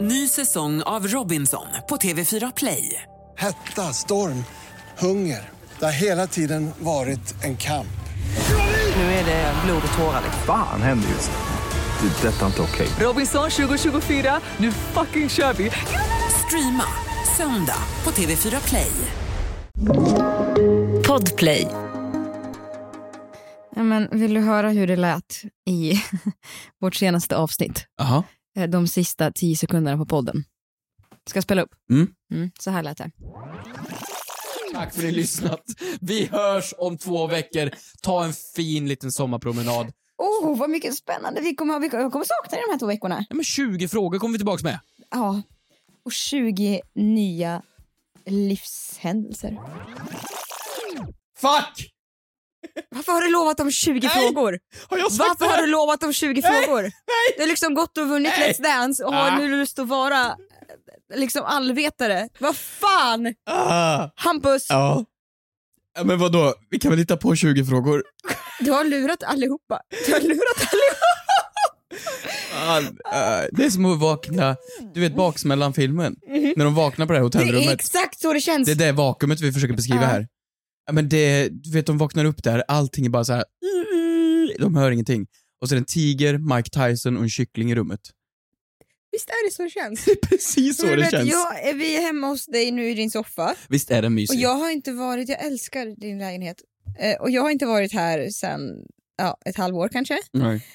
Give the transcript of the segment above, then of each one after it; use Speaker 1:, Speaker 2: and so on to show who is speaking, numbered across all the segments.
Speaker 1: Ny säsong av Robinson på TV4 Play.
Speaker 2: Hetta, storm, hunger. Det har hela tiden varit en kamp.
Speaker 1: Nu är det blod och tårar. liksom.
Speaker 3: Fan händer just nu. Det. är Detta är inte okej.
Speaker 1: Robinson 2024, nu fucking kör vi! Streama söndag på TV4 Play.
Speaker 4: Podplay.
Speaker 5: Ja, men vill du höra hur det lät i vårt senaste avsnitt?
Speaker 6: Aha.
Speaker 5: Eh, De sista tio sekunderna på podden. Ska jag spela upp?
Speaker 6: Mm.
Speaker 5: så här lät det.
Speaker 6: Tack för att ni lyssnat. Vi hörs om två veckor. Ta en fin liten sommarpromenad.
Speaker 5: Oh, vad mycket spännande vi kommer ha. Vi kommer jag kommer sakna dig de här två veckorna.
Speaker 6: Ja, men 20 frågor kommer vi tillbaka med.
Speaker 5: Ja. Och 20 nya livshändelser.
Speaker 6: Fuck!
Speaker 5: Varför har du lovat om 20
Speaker 6: Nej!
Speaker 5: frågor?
Speaker 6: Har jag sagt
Speaker 5: Varför
Speaker 6: det här?
Speaker 5: har du lovat om 20 frågor? Du har liksom gått och vunnit
Speaker 6: Nej!
Speaker 5: Let's Dance och
Speaker 6: Ah.
Speaker 5: har nu lust att vara eh, liksom allvetare. Vad fan!
Speaker 6: Ah,
Speaker 5: Hampus,
Speaker 6: ja. Ja, Men vadå? Vi kan väl hitta på 20 frågor?
Speaker 5: du har lurat allihopa. Du har lurat allihopa.
Speaker 6: Ah, ah, det är som att vakna, du vet baksmällan-filmen? När de vaknar på Mhm. det här
Speaker 5: Det är
Speaker 6: hotellrummet.
Speaker 5: exakt så det känns.
Speaker 6: Det är det vakuumet vi försöker beskriva
Speaker 5: Ja.
Speaker 6: här. Ja, Men det, du vet de vaknar upp där, allting är bara så här. de hör ingenting. Och så är det en tiger, Mike Tyson och en kyckling i rummet.
Speaker 5: Visst är det så det känns?
Speaker 6: Det är precis så
Speaker 5: Men du
Speaker 6: det
Speaker 5: vet,
Speaker 6: känns.
Speaker 5: Jag, är vi är hemma hos dig nu i din soffa
Speaker 6: Visst är den
Speaker 5: och
Speaker 6: mysig?
Speaker 5: jag har inte varit, jag älskar din lägenhet, eh, och jag har inte varit här sen ja, ett halvår kanske.
Speaker 6: Nej.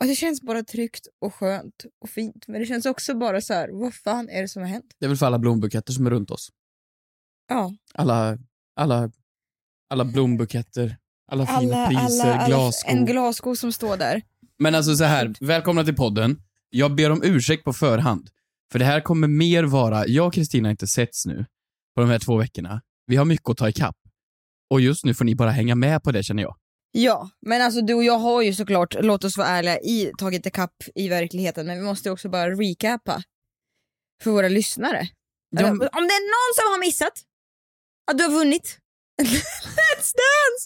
Speaker 5: Och det känns bara tryggt och skönt och fint, men det känns också bara så här, vad fan är det som har hänt?
Speaker 6: Det är väl för alla blombuketter som är runt oss.
Speaker 5: Ja.
Speaker 6: Alla, alla, alla blombuketter, alla fina
Speaker 5: Alla,
Speaker 6: priser,
Speaker 5: alla, alla,
Speaker 6: glasskor.
Speaker 5: en glassko som står där.
Speaker 6: Men alltså så här, välkomna till podden. Jag ber om ursäkt på förhand. För det här kommer mer vara, jag och Kristina har inte setts nu på de här två veckorna. Vi har mycket att ta ikapp. Och just nu får ni bara hänga med på det känner jag.
Speaker 5: Ja, men alltså du och jag har ju såklart, låt oss vara ärliga, i, tagit ikapp i verkligheten men vi måste också bara recapa för våra lyssnare.
Speaker 6: Ja,
Speaker 5: Eller,
Speaker 6: men-
Speaker 5: Om det är någon som har missat att du har vunnit Let's Dance!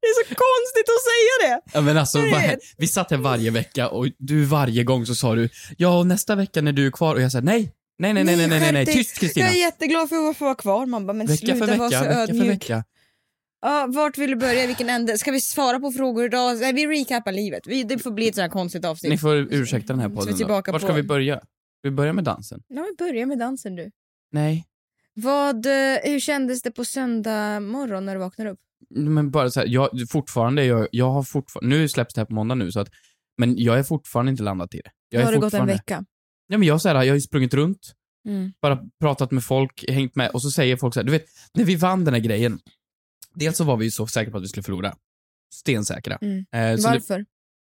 Speaker 5: Det är så konstigt att säga det!
Speaker 6: Ja, men alltså,
Speaker 5: Nej.
Speaker 6: vad- vi satt här varje vecka och du varje gång så sa du ja och nästa vecka när du är kvar och jag sa nej, nej, nej, nej, nej, nej, nej, nej.
Speaker 5: skärp dig.
Speaker 6: tyst Kristina.
Speaker 5: Jag är jätteglad för att få vara kvar mamma men
Speaker 6: Vecka
Speaker 5: sluta
Speaker 6: för
Speaker 5: vara
Speaker 6: vecka,
Speaker 5: så
Speaker 6: vecka för
Speaker 5: ödmjuk.
Speaker 6: vecka.
Speaker 5: Ja, vart vill du börja, i vilken ände? Ska vi svara på frågor idag? Nej, vi recapar livet, vi, det får bli ett sånt här konstigt avsnitt.
Speaker 6: Ni får ursäkta den här
Speaker 5: Ska vi
Speaker 6: podden då.
Speaker 5: tillbaka
Speaker 6: Var ska
Speaker 5: på-
Speaker 6: vi börja? Vi börjar med dansen.
Speaker 5: Ja, men börja med dansen du.
Speaker 6: Nej,
Speaker 5: Vad, eh, hur kändes det på söndag morgon när du vaknade upp?
Speaker 6: men bara så här, jag, fortfarande, jag, jag har fortfarande, nu släpps det här på måndag nu så att, men jag är fortfarande inte landat i det. Jag
Speaker 5: Då
Speaker 6: är
Speaker 5: har det gått en
Speaker 6: fortfarande-
Speaker 5: vecka.
Speaker 6: Nej men jag så här, jag har ju sprungit runt,
Speaker 5: Mm.
Speaker 6: bara pratat med folk, hängt med och så säger folk så här, du vet, när vi vann den här grejen, dels så var vi ju så säkra på att vi skulle förlora. Stensäkra.
Speaker 5: Mm.
Speaker 6: Eh, så det,
Speaker 5: Varför?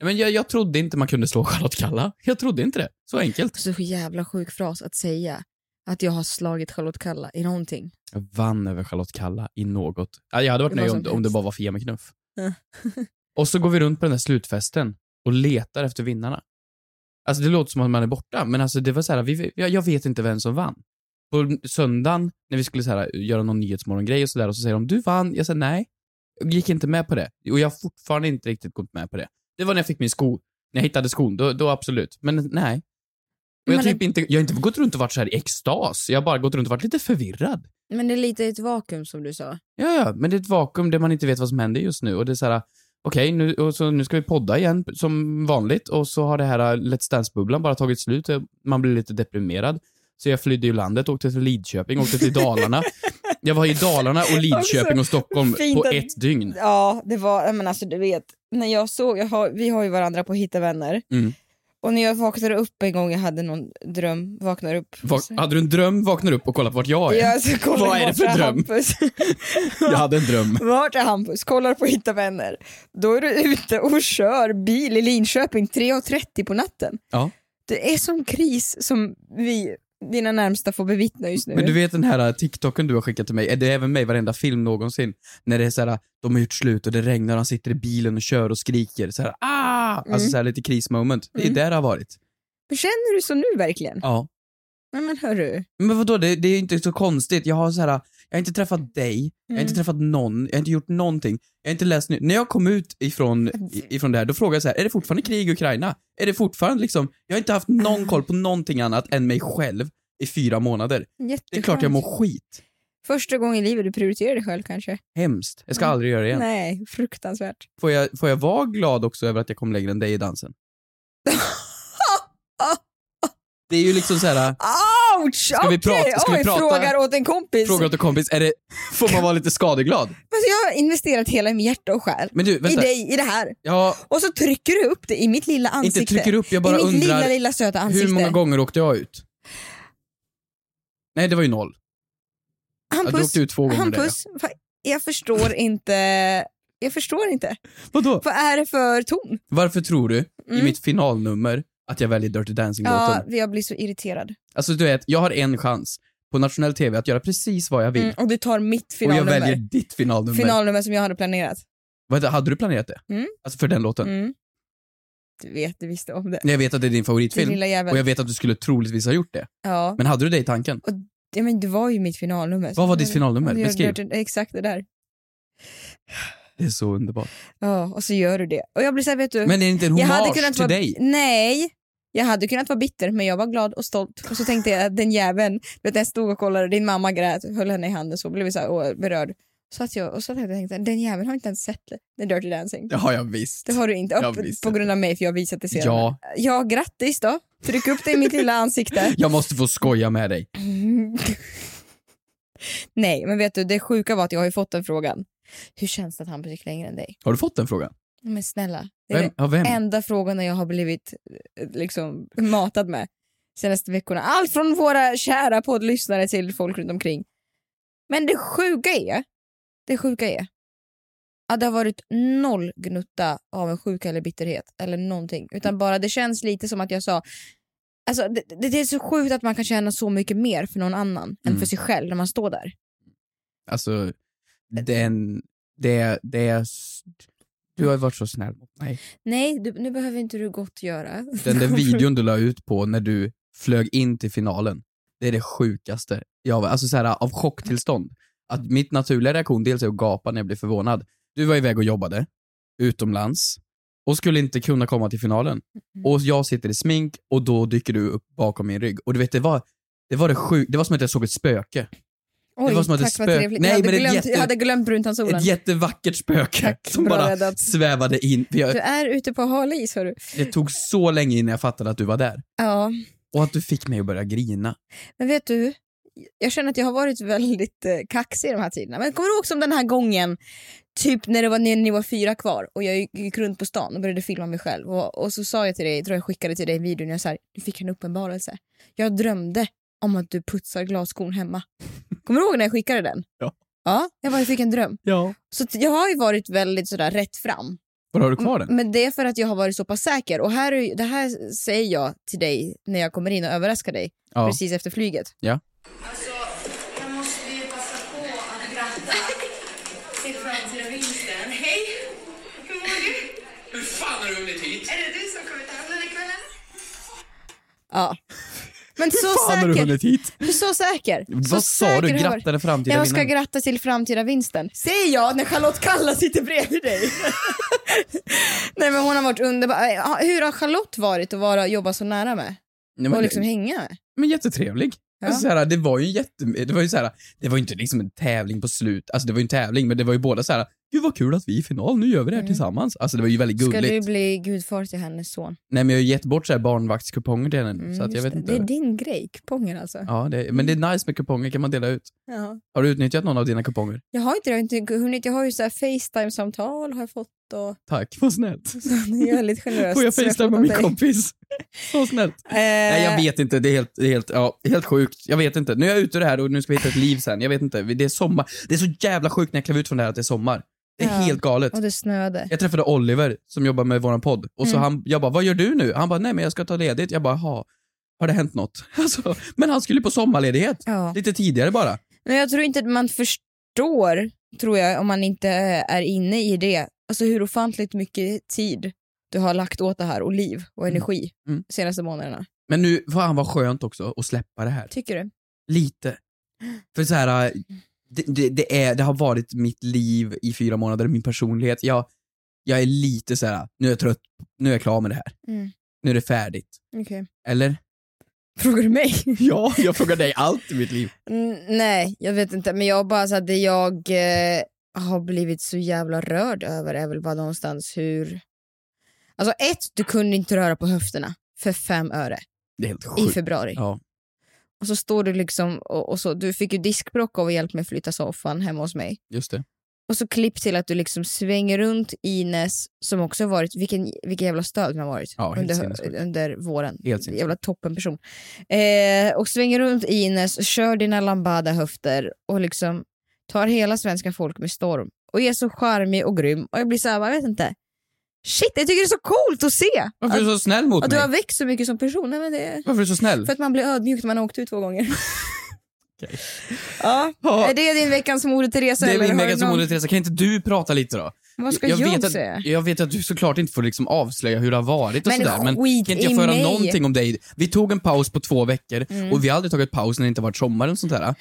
Speaker 6: men jag, jag trodde inte man kunde slå Charlotte Kalla. Jag trodde inte det. Så enkelt.
Speaker 5: Så jävla sjuk fras att säga att jag har slagit Charlotte Kalla i någonting.
Speaker 6: Jag vann över Charlotte Kalla i något. Ja, Jag hade varit
Speaker 5: Det var
Speaker 6: nöjd
Speaker 5: som
Speaker 6: om, om det
Speaker 5: helst.
Speaker 6: bara var Fia med knuff.
Speaker 5: Ja.
Speaker 6: och så går vi runt på den där slutfesten och letar efter vinnarna. Alltså det låter som att man är borta, men alltså det var så här, vi, jag, jag vet inte vem som vann. På söndagen, när vi skulle så här, göra någon nyhetsmorgongrej och sådär, och så säger de du vann. Jag säger nej. Jag gick inte med på det. Och jag har fortfarande inte riktigt gått med på det. Det var när jag fick min sko. När jag hittade skon, då, då absolut. Men nej. Och jag,
Speaker 5: Men
Speaker 6: har typ inte, jag har inte gått runt och varit så här i extas. Jag har bara gått runt och varit lite förvirrad.
Speaker 5: Men det är lite ett vakuum som du sa.
Speaker 6: Ja, ja, men det är ett vakuum där man inte vet vad som händer just nu och det är så här. Okej, nu, och så nu ska vi podda igen som vanligt och så har det här eh, Let's Dance-bubblan bara tagit slut. Man blir lite deprimerad. Så jag flydde ju landet, åkte till Lidköping, åkte till Dalarna. Jag var i Dalarna och Lidköping och Stockholm
Speaker 5: Fint
Speaker 6: på
Speaker 5: att-
Speaker 6: ett dygn.
Speaker 5: Ja, det var, men alltså du vet, när jag såg, jag har, vi har ju varandra på Hitta Vänner.
Speaker 6: Mm.
Speaker 5: Och när jag vaknade upp en gång, jag hade någon dröm, vaknar upp.
Speaker 6: Va- hade du en dröm, vaknar upp och kollar på vart jag är.
Speaker 5: jag, så kollar
Speaker 6: Vad är det för
Speaker 5: vart
Speaker 6: dröm?
Speaker 5: Hampus?
Speaker 6: Jag hade en dröm.
Speaker 5: Vart är Hampus? Kollar på Hitta Vänner. Då är du ute och kör bil i Linköping 3.30 på natten.
Speaker 6: Ja.
Speaker 5: Det är sån kris som vi, dina närmsta får bevittna just nu.
Speaker 6: Men du vet den här eh, TikToken du har skickat till mig, är det är även mig i varenda film någonsin. När det är så här, äh, de har gjort slut och det regnar och han sitter i bilen och kör och skriker så här, ah! Alltså
Speaker 5: Mm.
Speaker 6: så här lite krismoment. Det är
Speaker 5: Mm.
Speaker 6: där det har varit.
Speaker 5: Men Känner du så nu verkligen?
Speaker 6: Ja.
Speaker 5: Nej men hörru.
Speaker 6: Men vadå, det, det är ju inte så konstigt. Jag har så här, äh, jag har inte träffat dig, jag har inte
Speaker 5: Mm.
Speaker 6: träffat någon, jag har inte gjort någonting, jag har inte läst nytt. När jag kom ut ifrån, i- ifrån det här, då frågade jag så här, är det fortfarande krig i Ukraina? Är det fortfarande liksom, jag har inte haft någon koll på någonting annat än mig själv i fyra månader. Det är klart jag mår skit.
Speaker 5: Första gången i livet du prioriterar dig själv kanske.
Speaker 6: Hemskt. Jag ska
Speaker 5: Mm.
Speaker 6: aldrig göra det igen.
Speaker 5: Nej, fruktansvärt.
Speaker 6: Får jag, får jag vara glad också över att jag kom längre än dig i dansen? Det är ju liksom så här.
Speaker 5: Ouch!
Speaker 6: Ska vi prata- ska vi
Speaker 5: Oj,
Speaker 6: prata-
Speaker 5: frågar åt en kompis.
Speaker 6: fråga åt en kompis, är det, får man vara lite skadeglad?
Speaker 5: Alltså, jag har investerat hela mitt hjärta och själ
Speaker 6: Men du,
Speaker 5: i
Speaker 6: vänta.
Speaker 5: dig, i det här.
Speaker 6: Ja,
Speaker 5: Och så trycker du upp det i mitt lilla ansikte.
Speaker 6: inte trycker upp, jag bara
Speaker 5: I mitt lilla,
Speaker 6: undrar,
Speaker 5: lilla söta ansikte.
Speaker 6: hur många gånger åkte jag ut? Nej, det var ju noll. Ja, du
Speaker 5: Hampus,
Speaker 6: åkte ut två gånger. Där,
Speaker 5: Hampus, va- jag förstår inte. Jag förstår inte.
Speaker 6: ja. Vadå?
Speaker 5: Vad är det för ton?
Speaker 6: Varför tror du, i
Speaker 5: Mm.
Speaker 6: mitt finalnummer, att jag väljer Dirty Dancing-låten?
Speaker 5: Ja, jag blir så irriterad.
Speaker 6: Alltså du vet, jag har en chans på nationell TV att göra precis vad jag vill.
Speaker 5: Mm, och du tar mitt
Speaker 6: Och jag
Speaker 5: finalnummer.
Speaker 6: väljer ditt finalnummer.
Speaker 5: Finalnummer som jag hade planerat.
Speaker 6: Vad, hade du planerat det?
Speaker 5: Mm.
Speaker 6: Alltså för den låten?
Speaker 5: Mm. Du vet, du visste om det.
Speaker 6: Jag vet att det är din
Speaker 5: Din
Speaker 6: favoritfilm
Speaker 5: lilla jävel.
Speaker 6: och jag vet att du skulle troligtvis ha gjort det.
Speaker 5: Ja.
Speaker 6: Men hade du det i tanken?
Speaker 5: ja, men det var ju mitt finalnummer.
Speaker 6: Vad var ditt finalnummer?
Speaker 5: Jag- jag-
Speaker 6: Beskriv.
Speaker 5: jag- Exakt det där.
Speaker 6: Det är så underbart.
Speaker 5: Ja, och så gör du det. Och jag blir såhär, vet du.
Speaker 6: Men är det inte en
Speaker 5: Mm. jag
Speaker 6: hommage till
Speaker 5: vara,
Speaker 6: dig?
Speaker 5: Nej, jag hade kunnat vara bitter men jag var glad och stolt. Och så tänkte jag att den jäveln, du vet jag stod och kollade, din mamma grät, höll henne i handen så blev vi så här, åh, berörd. Så att jag, och så tänkte jag, den jäveln har inte ens sett The Dirty Dancing.
Speaker 6: Det har jag visst.
Speaker 5: Det har du inte,
Speaker 6: Jag
Speaker 5: upp,
Speaker 6: visste
Speaker 5: på grund av mig för jag har visat det senare.
Speaker 6: Ja,
Speaker 5: ja grattis då. Tryck upp det i mitt lilla ansikte.
Speaker 6: jag måste få skoja med dig.
Speaker 5: Nej, men vet du, det sjuka var att jag har ju fått den frågan. Hur känns det att han gick längre än dig?
Speaker 6: Har du fått den frågan?
Speaker 5: Men snälla, det är
Speaker 6: Vem? Ja, vem?
Speaker 5: den enda frågan jag har blivit eh, liksom, matad med senaste veckorna. Allt från våra kära poddlyssnare till folk runt omkring. Men det sjuka är, det sjuka är att det har varit noll gnutta av en sjuka eller bitterhet eller någonting. Utan bara det känns lite som att jag sa Alltså, det, det det är så sjukt att man kan känna så mycket mer för någon annan än
Speaker 6: Mm.
Speaker 5: för sig själv när man står där.
Speaker 6: Alltså, den... Det, det är... s- Du har ju varit så snäll mot mig.
Speaker 5: Nej, du, nu behöver inte du gott göra.
Speaker 6: Den där videon du la ut på när du flög in till finalen, det är det sjukaste jag var, alltså så här, av chocktillstånd. Att mitt naturliga reaktion dels är att gapa när jag blir förvånad. Du var iväg och jobbade, utomlands, och skulle inte kunna komma till finalen. Och jag sitter i smink och då dyker du upp bakom min rygg. Och du vet, det var det, var det, sjuk, det var som att jag såg ett spöke.
Speaker 5: Oj,
Speaker 6: var som att det
Speaker 5: tack vad
Speaker 6: spök-
Speaker 5: trevligt.
Speaker 6: Nej,
Speaker 5: jag, hade
Speaker 6: men det är
Speaker 5: glömt,
Speaker 6: jätte-
Speaker 5: jag hade glömt bruntansolen.
Speaker 6: Ett jättevackert spöke
Speaker 5: Tack,
Speaker 6: som
Speaker 5: bra
Speaker 6: bara
Speaker 5: räddat.
Speaker 6: svävade in. För
Speaker 5: Du
Speaker 6: jag,
Speaker 5: är ute på hal is, hörru.
Speaker 6: det tog så länge innan jag fattade att du var där.
Speaker 5: Ja,
Speaker 6: Och att du fick mig att börja grina.
Speaker 5: men vet du? Jag känner att jag har varit väldigt eh, kaxig de här tiderna. Men kommer du ihåg som den här gången, typ när det var när ni var fyra kvar och jag gick, gick runt på stan och började filma mig själv. Och, och så sa jag till dig, jag tror jag skickade till dig en video när jag sa du fick en uppenbarelse. Jag drömde om att du putsar glasskon hemma. Kommer du ihåg när jag skickade den?
Speaker 6: Ja.
Speaker 5: Ja, jag bara, jag fick en dröm.
Speaker 6: Ja.
Speaker 5: Så t- jag har ju varit väldigt sådär rätt fram.
Speaker 6: Var har du kvar den?
Speaker 5: Men det är för att jag har varit så pass säker. Och här, är ju- det här säger jag till dig när jag kommer in och överraskar dig
Speaker 6: Ja.
Speaker 5: precis efter flyget.
Speaker 7: Alltså, jag måste ju passa på att gratta till framtida vinsten. Hej! Hur mår du?
Speaker 8: Hur fan har du hunnit hit?
Speaker 7: Är det du som kommer ta hand om den här kvällen?
Speaker 5: Ja. Men så
Speaker 6: fan har du
Speaker 5: säker.
Speaker 6: hunnit hit?
Speaker 5: Du är så säker. så
Speaker 6: Vad sa
Speaker 5: säker
Speaker 6: du?
Speaker 5: har jag varit.
Speaker 6: Grattade framtida
Speaker 5: Jag ska
Speaker 6: vinnaren?
Speaker 5: gratta till framtida vinsten. Säger jag när Charlotte Kalla sitter bredvid dig. Nej men hon har varit underbar. Ja, Hur har Charlotte varit att vara, jobba så nära med?
Speaker 6: Nej,
Speaker 5: Och
Speaker 6: men,
Speaker 5: liksom hänga med?
Speaker 6: men jättetrevlig.
Speaker 5: Ja.
Speaker 6: Alltså, såhär, det var ju en jätte... Det var ju såhär, det var ju inte liksom en tävling på slut. Alltså det var ju en tävling, men det var ju båda såhär, gud vad kul att vi är i final, nu gör vi det här
Speaker 5: Mm.
Speaker 6: tillsammans. Alltså det var ju väldigt
Speaker 5: Ska
Speaker 6: gulligt.
Speaker 5: du bli gudfar till hennes son?
Speaker 6: Nej men jag har ju gett bort såhär barnvaktskuponger till henne nu,
Speaker 5: Mm,
Speaker 6: så att jag
Speaker 5: just
Speaker 6: vet
Speaker 5: det.
Speaker 6: inte.
Speaker 5: det är din grej, kuponger alltså.
Speaker 6: Ja, det, men det är nice med kuponger, kan man dela ut.
Speaker 5: Ja.
Speaker 6: Har du utnyttjat någon av dina kuponger?
Speaker 5: Jag har inte, jag har inte hunnit. Jag har ju så här Facetime-samtal har jag fått och
Speaker 6: Tack, vad snällt.
Speaker 5: så det är väldigt generöst.
Speaker 6: Får jag
Speaker 5: så har
Speaker 6: facetime
Speaker 5: fått
Speaker 6: med min
Speaker 5: av dig.
Speaker 6: kompis? Så snällt.
Speaker 5: Eh,
Speaker 6: Nej, jag vet inte. Det är helt, det är helt, ja, helt sjukt. Jag vet inte. Nu är jag ute ur det här och nu ska vi hitta ett liv sen. Jag vet inte. Det är sommar. Det är så jävla sjukt när jag klev ut från det här att det är sommar. Det är
Speaker 5: Ja.
Speaker 6: helt galet.
Speaker 5: Och det snöade.
Speaker 6: Jag träffade Oliver som jobbar med våran podd och så
Speaker 5: Mm.
Speaker 6: han, jag bara, vad gör du nu? Han bara, nej men jag ska ta ledigt. Jag bara, jaha, har det hänt något? Alltså, men han skulle ju på sommarledighet.
Speaker 5: Ja.
Speaker 6: Lite tidigare bara.
Speaker 5: Men jag tror inte att man förstår, tror jag, om man inte är inne i det, alltså hur ofantligt mycket tid du har lagt åt det här och liv och
Speaker 6: Mm.
Speaker 5: energi
Speaker 6: Mm.
Speaker 5: senaste månaderna.
Speaker 6: Men nu, fan vad skönt också att släppa det här.
Speaker 5: Tycker du? Mm.
Speaker 6: Lite. För så här, äh, det, det, det, är, det har varit mitt liv i fyra månader, min personlighet. Jag, jag är lite så här: nu är jag trött, nu är jag klar med det här.
Speaker 5: Mm.
Speaker 6: Nu är det färdigt.
Speaker 5: Okej.
Speaker 6: Eller?
Speaker 5: Frågar du mig?
Speaker 6: Ja, jag frågar dig allt i mitt liv.
Speaker 5: Mm, nej, jag vet inte. Men jag bara så att det jag eh, har blivit så jävla rörd över är väl bara någonstans hur... Alltså ett, du kunde inte röra på höfterna för fem öre
Speaker 6: Det är helt
Speaker 5: i
Speaker 6: sjukt.
Speaker 5: februari.
Speaker 6: Ja.
Speaker 5: Och så står du liksom och, och så, du fick ju diskbråck av att hjälpa mig flytta soffan hemma hos mig.
Speaker 6: Just det.
Speaker 5: Och så klipp till att du liksom svänger runt Ines som också har varit, vilken, vilken jävla stöd hon har varit
Speaker 6: Ja, helt
Speaker 5: under,
Speaker 6: sinnessjukt.
Speaker 5: under våren.
Speaker 6: Helt sinnessjukt.
Speaker 5: jävla toppenperson. Eh, och svänger runt Ines, och kör dina lambada höfter och liksom tar hela svenska folk med storm. Och är så charmig och grym och jag blir såhär, jag vet inte. Shit, jag tycker det är så coolt att se!
Speaker 6: Varför är du så snäll mot
Speaker 5: Att du
Speaker 6: mig?
Speaker 5: har växt så mycket som person. Nej, men det,
Speaker 6: Varför är du så snäll?
Speaker 5: för att man blir ödmjuk när man har åkt ut två gånger. ja. Är det din veckans Moder Teresa?
Speaker 6: det
Speaker 5: eller
Speaker 6: är min
Speaker 5: har du
Speaker 6: mega som
Speaker 5: någon-
Speaker 6: Moder Teresa, kan inte du prata lite då?
Speaker 5: Vad ska
Speaker 6: jag,
Speaker 5: jag,
Speaker 6: vet
Speaker 5: säga?
Speaker 6: att, jag vet att du såklart inte får liksom avslöja hur det har varit och
Speaker 5: Men
Speaker 6: sådär, men
Speaker 5: skit
Speaker 6: kan inte jag
Speaker 5: i
Speaker 6: få höra
Speaker 5: mig. Mm.
Speaker 6: någonting om dig? Vi tog en paus på två veckor och vi har aldrig tagit paus när det inte har varit sommar eller sånt där.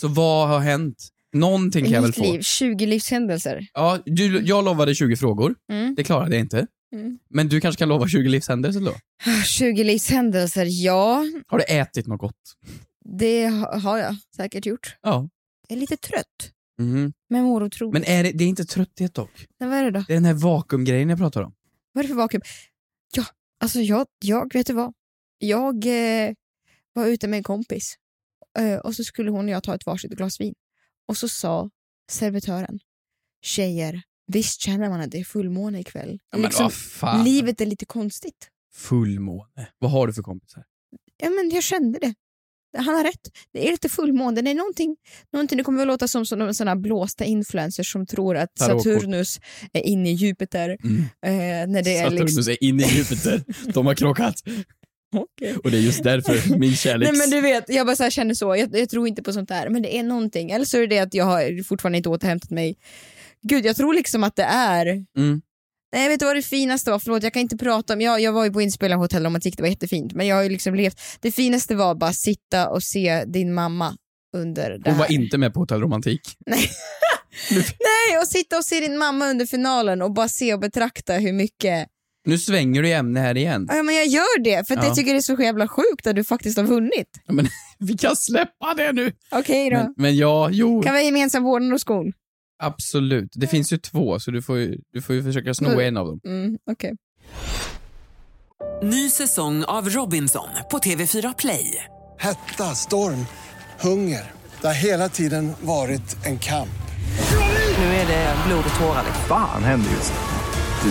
Speaker 6: Så vad har hänt? Någonting kan jag väl
Speaker 5: Mitt
Speaker 6: få?
Speaker 5: liv, 20 livshändelser.
Speaker 6: Ja, du, jag lovade 20 frågor,
Speaker 5: Mm.
Speaker 6: det klarade jag inte.
Speaker 5: Mm.
Speaker 6: Men du kanske kan lova 20 livshändelser då?
Speaker 5: Ah, 20 livshändelser, ja.
Speaker 6: Har du ätit något gott?
Speaker 5: Det ha- har jag säkert gjort.
Speaker 6: Ja.
Speaker 5: Jag är lite trött,
Speaker 6: Mhm.
Speaker 5: men mår otroligt.
Speaker 6: Men är det, det är inte trötthet dock?
Speaker 5: Men vad är det då?
Speaker 6: Det är den här vakuumgrejen jag pratar om.
Speaker 5: Vad är det för vakuum? Ja, alltså jag, jag vet du vad? Jag eh, var ute med en kompis eh, och så skulle hon och jag ta ett varsitt glas vin. Och så sa servitören, tjejer, visst känner man att det är fullmåne ikväll?
Speaker 6: Ja, men
Speaker 5: liksom,
Speaker 6: vad fan.
Speaker 5: livet är lite konstigt.
Speaker 6: Fullmåne. Vad har du för kompisar?
Speaker 5: ja, men jag kände det. Han har rätt. Det är lite fullmåne. Det är någonting, någonting det kommer att låta som sådana, sådana blåsta influencers som tror att
Speaker 6: Tarotkort.
Speaker 5: Saturnus är inne i Jupiter.
Speaker 6: Mm.
Speaker 5: Eh, när det är
Speaker 6: Saturnus
Speaker 5: liksom...
Speaker 6: är inne i Jupiter. De har krockat.
Speaker 5: Okej.
Speaker 6: Och det är just därför min kärleks...
Speaker 5: Nej men du vet, jag bara så här känner så. Jag, jag tror inte på sånt där. Men det är någonting. Eller så är det att jag har fortfarande inte återhämtat mig. Gud, jag tror liksom att det är...
Speaker 6: Mm.
Speaker 5: Nej, vet du vad det finaste var? Förlåt, jag kan inte prata om... Jag, jag var ju på inspelning på Hotell Romantik, det var jättefint. Men jag har ju liksom levt... Det finaste var bara sitta och se din mamma under det
Speaker 6: Hon
Speaker 5: här.
Speaker 6: var inte med på Hotell Romantik.
Speaker 5: Nej, och sitta och se din mamma under finalen och bara se och betrakta hur mycket...
Speaker 6: Nu svänger du i ämne här igen.
Speaker 5: Ja, men jag gör det, för att
Speaker 6: Ja.
Speaker 5: jag tycker det är så jävla sjukt att du faktiskt har vunnit.
Speaker 6: Ja, Men, vi kan släppa det nu!
Speaker 5: Okej då.
Speaker 6: Men, men ja, jo,
Speaker 5: Kan vi ha gemensam vårdnad och skon?
Speaker 6: absolut. Det finns ju två, så du får ju, du får ju försöka sno
Speaker 5: Mm.
Speaker 6: en av dem.
Speaker 5: Mm, okej.
Speaker 1: Ny säsong av Robinson på TV4 Play.
Speaker 9: Hetta, storm, hunger. Det har hela tiden varit en kamp.
Speaker 1: Nu är det blod och tårar.
Speaker 3: Fan händer just nu.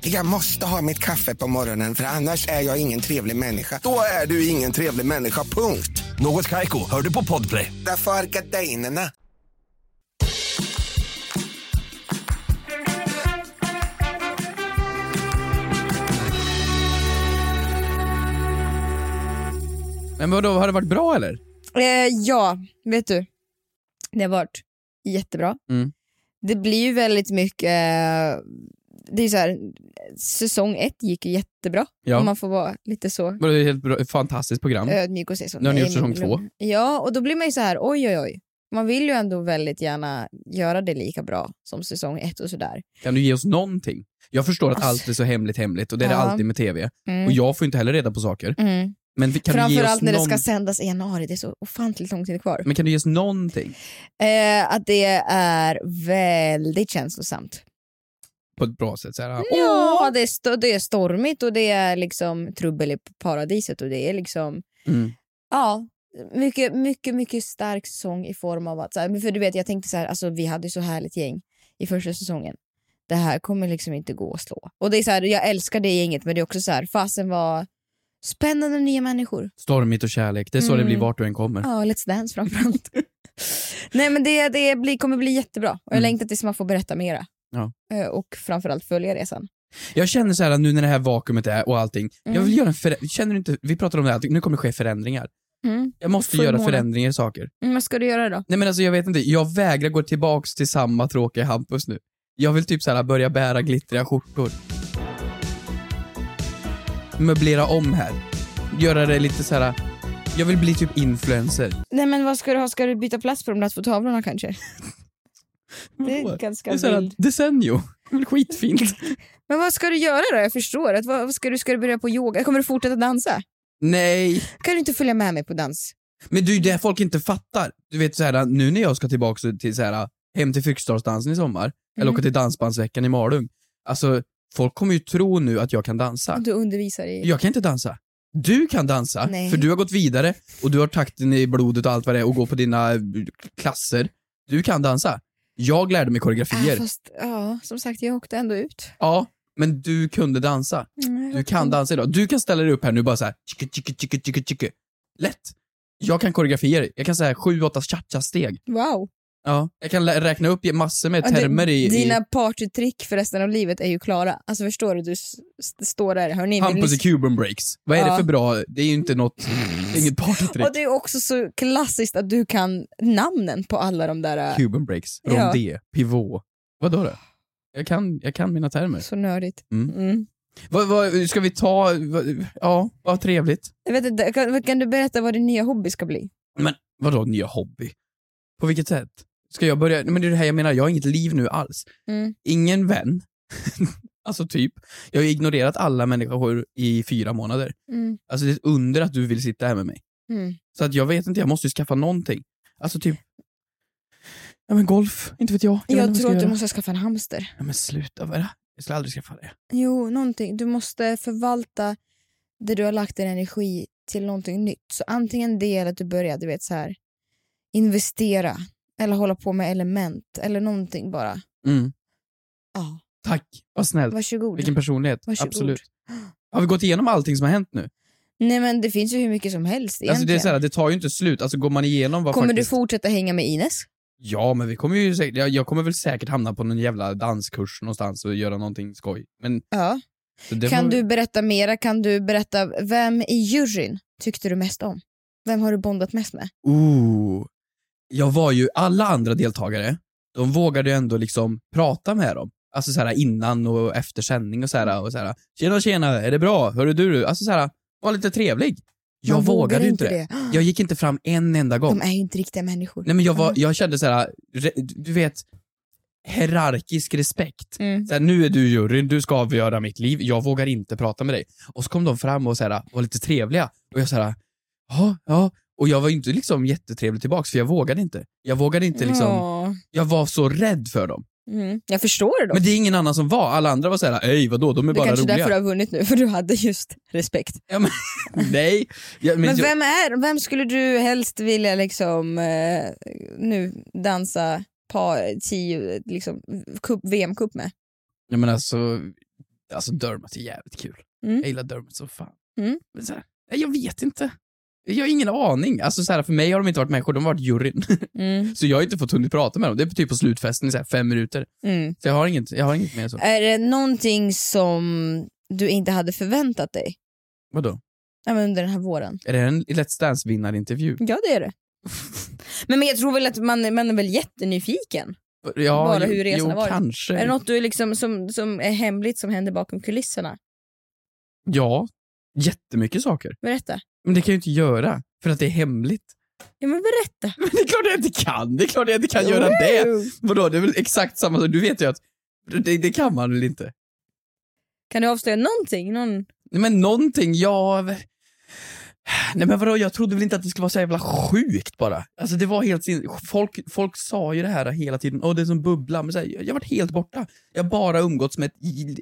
Speaker 2: Jag måste ha mitt kaffe på morgonen för annars är jag ingen trevlig människa. Då är du ingen trevlig människa, punkt.
Speaker 10: Något Kaiko, hör du på Podplay.
Speaker 2: Därför är gardinerna.
Speaker 6: Men vadå, har det varit bra eller?
Speaker 5: Eh, ja, vet du. Det har varit jättebra.
Speaker 6: Mm.
Speaker 5: Det blir ju väldigt mycket... Eh, det är ju så här, säsong ett gick ju jättebra.
Speaker 6: Ja.
Speaker 5: Om man Eh. får vara lite så
Speaker 6: Vadå, Det är ett helt bra, ett fantastiskt program.
Speaker 5: ödmjuk och se så.
Speaker 6: Nu Mm. har ni
Speaker 5: Nej,
Speaker 6: gjort säsong
Speaker 5: men-
Speaker 6: två.
Speaker 5: Ja, och då blir man ju så här, oj oj oj. Man vill ju ändå väldigt gärna göra det lika bra som säsong ett och sådär.
Speaker 6: Kan du ge oss någonting? Jag förstår att allt är så hemligt hemligt och det är det
Speaker 5: Ja.
Speaker 6: alltid med TV.
Speaker 5: Mm.
Speaker 6: Och jag får inte heller reda på saker.
Speaker 5: Mm.
Speaker 6: Men vi- kan du ge oss
Speaker 5: Framförallt när
Speaker 6: någon...
Speaker 5: det ska sändas i januari, det är så ofantligt lång tid kvar.
Speaker 6: Men kan du ge oss någonting?
Speaker 5: Eh, att det är väldigt känslosamt.
Speaker 6: På ett bra sätt? Så
Speaker 5: Mm.
Speaker 6: här,
Speaker 5: Ja, det är, sto- det är stormigt och det är liksom trubbel i paradiset och det är liksom,
Speaker 6: Mm.
Speaker 5: ja, mycket, mycket, mycket stark säsong i form av att, så här, men för du vet jag tänkte så här, alltså vi hade ju så härligt gäng i första säsongen. Det här kommer liksom inte gå att slå. Och det är så här, jag älskar det gänget men det är också så här, fasen var spännande nya människor.
Speaker 6: Stormigt och kärlek, det är så det
Speaker 5: Mm.
Speaker 6: blir vart du än kommer.
Speaker 5: Ja, Let's Dance framförallt. Nej men det, det blir, kommer bli jättebra och jag
Speaker 6: Mm.
Speaker 5: längtar tills man får berätta mera.
Speaker 6: Ja.
Speaker 5: Eh, Och framförallt följa resan.
Speaker 6: Jag känner så här nu när det här vakuumet är och allting, jag
Speaker 5: Mm.
Speaker 6: vill göra en förä- Känner du inte, vi pratar om det här, att nu kommer det ske förändringar.
Speaker 5: Mm.
Speaker 6: Jag måste
Speaker 5: Full
Speaker 6: göra
Speaker 5: måne.
Speaker 6: förändringar i saker.
Speaker 5: Mm, Vad ska du göra då?
Speaker 6: Nej men alltså jag vet inte, jag vägrar gå tillbaks till samma tråkiga Hampus nu. Jag vill typ så här börja bära glittriga skjortor. Möblera om här. Göra det lite så här. jag vill bli typ influencer.
Speaker 5: Nej men vad ska du ha? Ska du byta plats på de där två tavlorna kanske? Det är
Speaker 6: Det är
Speaker 5: ganska
Speaker 6: så här
Speaker 5: vild.
Speaker 6: decennio. Det är väl skitfint.
Speaker 5: Men vad ska du göra då? Jag förstår. Att, vad, vad ska, du, ska du börja på yoga? Kommer du fortsätta dansa?
Speaker 6: Nej,
Speaker 5: Kan du inte följa med mig på dans?
Speaker 6: men det är ju det folk inte fattar. Du vet så här, nu när jag ska tillbaks till så här, hem till Fryksdalsdansen i sommar, eller
Speaker 5: Mm.
Speaker 6: åka till Dansbandsveckan i Malung. Alltså, folk kommer ju tro nu att jag kan dansa.
Speaker 5: Du undervisar i...
Speaker 6: Jag kan inte dansa. Du kan dansa,
Speaker 5: Nej.
Speaker 6: för du har gått vidare och du har takten i blodet och allt vad det är och går på dina eh, klasser. Du kan dansa. Jag lärde mig
Speaker 5: Ah,
Speaker 6: koreografier.
Speaker 5: fast, ja, som sagt, jag åkte ändå ut.
Speaker 6: Ja, men du kunde dansa.
Speaker 5: Mm,
Speaker 6: Du kan dansa idag. Du kan ställa dig upp här nu bara så här. Tjicke, tjicke, tjicke, tjicke, tjicke. Lätt. Jag kan koreografier. Jag kan säga sju, åtta cha-cha-steg.
Speaker 5: Wow.
Speaker 6: Ja. Jag kan lä- räkna upp massor med
Speaker 5: Ja, du-
Speaker 6: termer i... i...
Speaker 5: Dina partytrick för resten av livet är ju klara. Alltså förstår du? Du s- s- står där. Hörni, vill ni
Speaker 6: Hampus i Cuban breaks. Vad är
Speaker 5: Ja.
Speaker 6: det för bra? Det är ju inte något... inget partytrick.
Speaker 5: Och det är också så klassiskt att du kan namnen på alla de där... äh,
Speaker 6: Cuban breaks,
Speaker 5: Ja.
Speaker 6: rondé, pivot. Vadå då? Jag kan, jag kan mina termer.
Speaker 5: Så nördigt.
Speaker 6: Mm.
Speaker 5: Mm.
Speaker 6: Vad, vad, ska vi ta, vad, ja, vad trevligt.
Speaker 5: Jag vet inte, kan, kan du berätta vad din nya hobby ska bli?
Speaker 6: Vadå nya hobby? På vilket sätt? Ska jag börja, nej, men det är det här jag menar, jag har inget liv nu alls.
Speaker 5: Mm.
Speaker 6: Ingen vän. alltså typ. Jag har ignorerat alla människor i fyra månader.
Speaker 5: Mm.
Speaker 6: Alltså det är ett under att du vill sitta här med mig.
Speaker 5: Mm.
Speaker 6: Så att jag vet inte, jag måste ju skaffa någonting. Alltså typ, ja men golf, inte vet jag.
Speaker 5: Jag,
Speaker 6: vet inte
Speaker 5: tror
Speaker 6: vad
Speaker 5: att du
Speaker 6: jag ska göra.
Speaker 5: måste skaffa en hamster.
Speaker 6: Ja, men sluta, vad är det? Jag skulle aldrig skaffa det.
Speaker 5: Jo, någonting. Du måste förvalta det du har lagt din energi till någonting nytt. Så antingen det eller att du börjar, du vet så här investera eller hålla på med element eller någonting bara.
Speaker 6: Mm.
Speaker 5: Ja,
Speaker 6: Tack, vad snällt.
Speaker 5: varsågod.
Speaker 6: Vilken personlighet.
Speaker 5: Varsågod.
Speaker 6: Absolut. Har vi gått igenom allting som har hänt nu?
Speaker 5: Nej men det finns ju hur mycket som helst egentligen.
Speaker 6: Alltså det, är så här, det tar ju inte slut. Alltså går man igenom vad
Speaker 5: Kommer
Speaker 6: faktiskt...
Speaker 5: du fortsätta hänga med Ines?
Speaker 6: Ja, men vi kommer ju säkert... Jag, jag kommer väl säkert hamna på någon jävla danskurs någonstans och göra någonting skoj. Men
Speaker 5: Ja.
Speaker 6: så det
Speaker 5: Kan
Speaker 6: får-
Speaker 5: du berätta mera? Kan du berätta vem i juryn tyckte du mest om? Vem har du bondat mest med?
Speaker 6: Ooh. Jag var ju... Alla andra deltagare, de vågade ju ändå liksom prata med dem. Alltså så här innan och efter sändning och så här, och så här Tjena, tjena, är det bra? Hörru du? Alltså så här, var lite trevlig. Jag
Speaker 5: Man vågar
Speaker 6: vågade ju inte det. Jag gick inte fram en enda gång.
Speaker 5: De är ju inte riktiga människor.
Speaker 6: Nej men jag, var, jag kände så här, re- du vet, hierarkisk respekt.
Speaker 5: Mm.
Speaker 6: Så här, nu är du juryn, du ska avgöra mitt liv, jag vågar inte prata med dig. Och så kom de fram och så här, var lite trevliga. Och jag så här, ja, ja. Och jag var ju inte liksom jättetrevlig tillbaks för jag vågade inte. Jag vågade inte liksom,
Speaker 5: Ja.
Speaker 6: jag var så rädd för dem.
Speaker 5: Mm. Jag förstår det då.
Speaker 6: Men det är ingen annan som var, alla andra var så här, ej vadå, de är
Speaker 5: det är
Speaker 6: bara
Speaker 5: kanske
Speaker 6: roliga.
Speaker 5: därför du har vunnit nu, för du hade just respekt.
Speaker 6: Nej. Ja, men
Speaker 5: Men,
Speaker 6: jag,
Speaker 5: vem, är, vem skulle du helst vilja liksom, eh, nu dansa par, tio, liksom, cup, VM-cup med?
Speaker 6: ja, men alltså, alltså Dermot är jävligt kul.
Speaker 5: Mm.
Speaker 6: Jag gillar Dermot så fan.
Speaker 5: Mm.
Speaker 6: Men så här, nej, jag vet inte. Jag har ingen aning. Alltså, så här, för mig har de inte varit människor, de har varit juryn.
Speaker 5: Mm.
Speaker 6: Så jag har inte fått hunnit prata med dem. Det är typ på slutfesten i så här fem minuter.
Speaker 5: Mm.
Speaker 6: Så jag har inget, jag har inget mer än så.
Speaker 5: Är det någonting som du inte hade förväntat dig
Speaker 6: Vadå?
Speaker 5: ja, men under den här våren?
Speaker 6: Är det en Let's Dance-vinnarintervju?
Speaker 5: Ja det är det. men, men jag tror väl att man, man är väl jättenyfiken.
Speaker 6: Ja,
Speaker 5: Bara
Speaker 6: jo-
Speaker 5: hur resan
Speaker 6: jo,
Speaker 5: har varit.
Speaker 6: kanske.
Speaker 5: Är det något du är liksom, som, som är hemligt som händer bakom kulisserna?
Speaker 6: Ja, jättemycket saker.
Speaker 5: Berätta.
Speaker 6: Men det kan jag ju inte göra, för att det är hemligt.
Speaker 5: Ja men berätta.
Speaker 6: Men det är klart jag inte kan! Det är klart jag inte kan göra det! Vadå, det är väl exakt samma sak. Du vet ju att det, det kan man väl inte?
Speaker 5: Kan du avslöja någonting? Någon...
Speaker 6: Nej, men någonting, jag... Nej men vadå, jag trodde väl inte att det skulle vara så jävla sjukt bara. Alltså det var helt sin... folk, folk sa ju det här hela tiden, åh det är som bubblan, men så här, jag jag har varit helt borta. Jag har bara umgåtts med ett,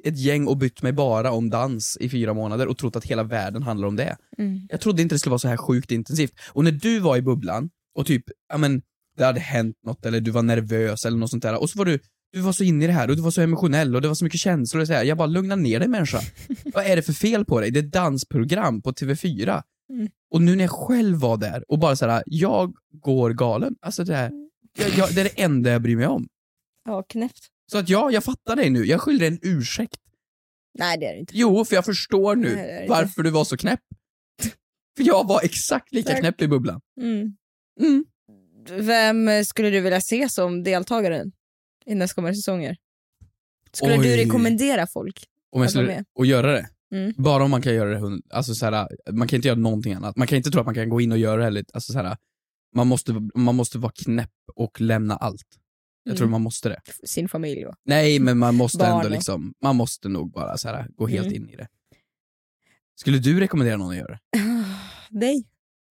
Speaker 6: ett gäng och bytt mig bara om dans i fyra månader och trott att hela världen handlar om det.
Speaker 5: Mm.
Speaker 6: Jag trodde inte det skulle vara så här sjukt intensivt. Och när du var i bubblan och typ, ja men, det hade hänt något eller du var nervös eller något sånt där och så var du, du var så inne i det här och du var så emotionell och det var så mycket känslor och så här. Jag bara, lugna ner dig människa. Vad är det för fel på dig? Det är ett dansprogram på TV4.
Speaker 5: Mm.
Speaker 6: Och nu när jag själv var där och bara så här, jag går galen. Alltså det här, Jag, jag, det är det enda jag bryr mig om.
Speaker 5: Ja, knäppt.
Speaker 6: Så att ja, jag fattar dig nu. Jag skyller dig en ursäkt.
Speaker 5: Nej, det är det inte.
Speaker 6: Jo, för jag förstår
Speaker 5: Nej,
Speaker 6: nu
Speaker 5: det är det inte.
Speaker 6: varför du var så knäpp. För jag var exakt lika
Speaker 5: Tack.
Speaker 6: knäpp i bubblan.
Speaker 5: Mm.
Speaker 6: Mm.
Speaker 5: Vem skulle du vilja se som deltagare i nästkommande säsonger? Skulle du
Speaker 6: Oj.
Speaker 5: rekommendera folk? Jag
Speaker 6: Om jag
Speaker 5: var
Speaker 6: skulle,
Speaker 5: med.
Speaker 6: och göra det.
Speaker 5: Mm.
Speaker 6: Bara om man kan göra det hund- alltså så här, man kan inte göra någonting annat. Man kan inte tro att man kan gå in och göra det heller. Alltså så här, man, måste, man måste vara knäpp och lämna allt. Jag
Speaker 5: Mm.
Speaker 6: tror man måste det.
Speaker 5: Sin familj och...
Speaker 6: Nej, men man måste
Speaker 5: Barn
Speaker 6: ändå
Speaker 5: och-
Speaker 6: liksom, man måste nog bara så här, gå helt
Speaker 5: Mm.
Speaker 6: in i det. Skulle du rekommendera någon att göra det?
Speaker 5: dig.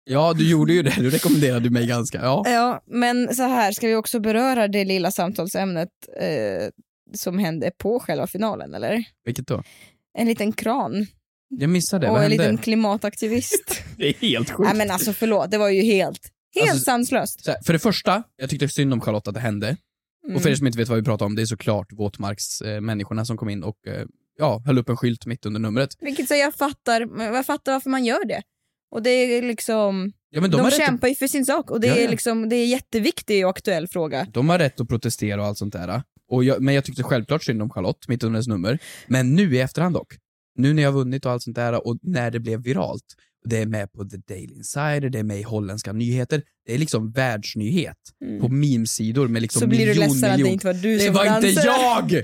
Speaker 6: Ja, du gjorde ju det. Du rekommenderade mig ganska. Ja.
Speaker 5: Ja, men så här ska vi också beröra det lilla samtalsämnet eh, som hände på själva finalen, eller?
Speaker 6: Vilket då?
Speaker 5: En liten kran
Speaker 6: Jag missade.
Speaker 5: och
Speaker 6: Vad
Speaker 5: en
Speaker 6: hände?
Speaker 5: liten klimataktivist.
Speaker 6: Det är helt sjukt.
Speaker 5: Nej men alltså förlåt, det var ju helt, helt
Speaker 6: Alltså,
Speaker 5: sanslöst.
Speaker 6: Så här, för det första, jag tyckte synd om Charlotte att det hände.
Speaker 5: Mm.
Speaker 6: Och för er som inte vet vad vi pratar om, det är såklart våtmarksmänniskorna eh, människorna som kom in och eh, ja, höll upp en skylt mitt under numret.
Speaker 5: Vilket så jag fattar, men jag fattar varför man gör det. Och det är liksom,
Speaker 6: Ja, men de,
Speaker 5: de,
Speaker 6: har rätt
Speaker 5: kämpar ju för sin sak och det
Speaker 6: Ja,
Speaker 5: är
Speaker 6: ja.
Speaker 5: liksom, det är en jätteviktig och aktuell fråga.
Speaker 6: att, de har rätt att protestera och allt sånt där. Och jag, men jag tyckte självklart synd om Charlotte, mitt under hennes nummer. Men nu i efterhand dock, nu när jag har vunnit och allt sånt där och när det blev viralt, det är med på The Daily Insider, det är med i holländska nyheter, det är liksom världsnyhet
Speaker 5: Mm.
Speaker 6: på memesidor med liksom
Speaker 5: så blir du
Speaker 6: miljon,
Speaker 5: ledsen att det
Speaker 6: miljon-
Speaker 5: inte var du
Speaker 6: Det
Speaker 5: som
Speaker 6: var inte
Speaker 5: dansade.
Speaker 6: jag!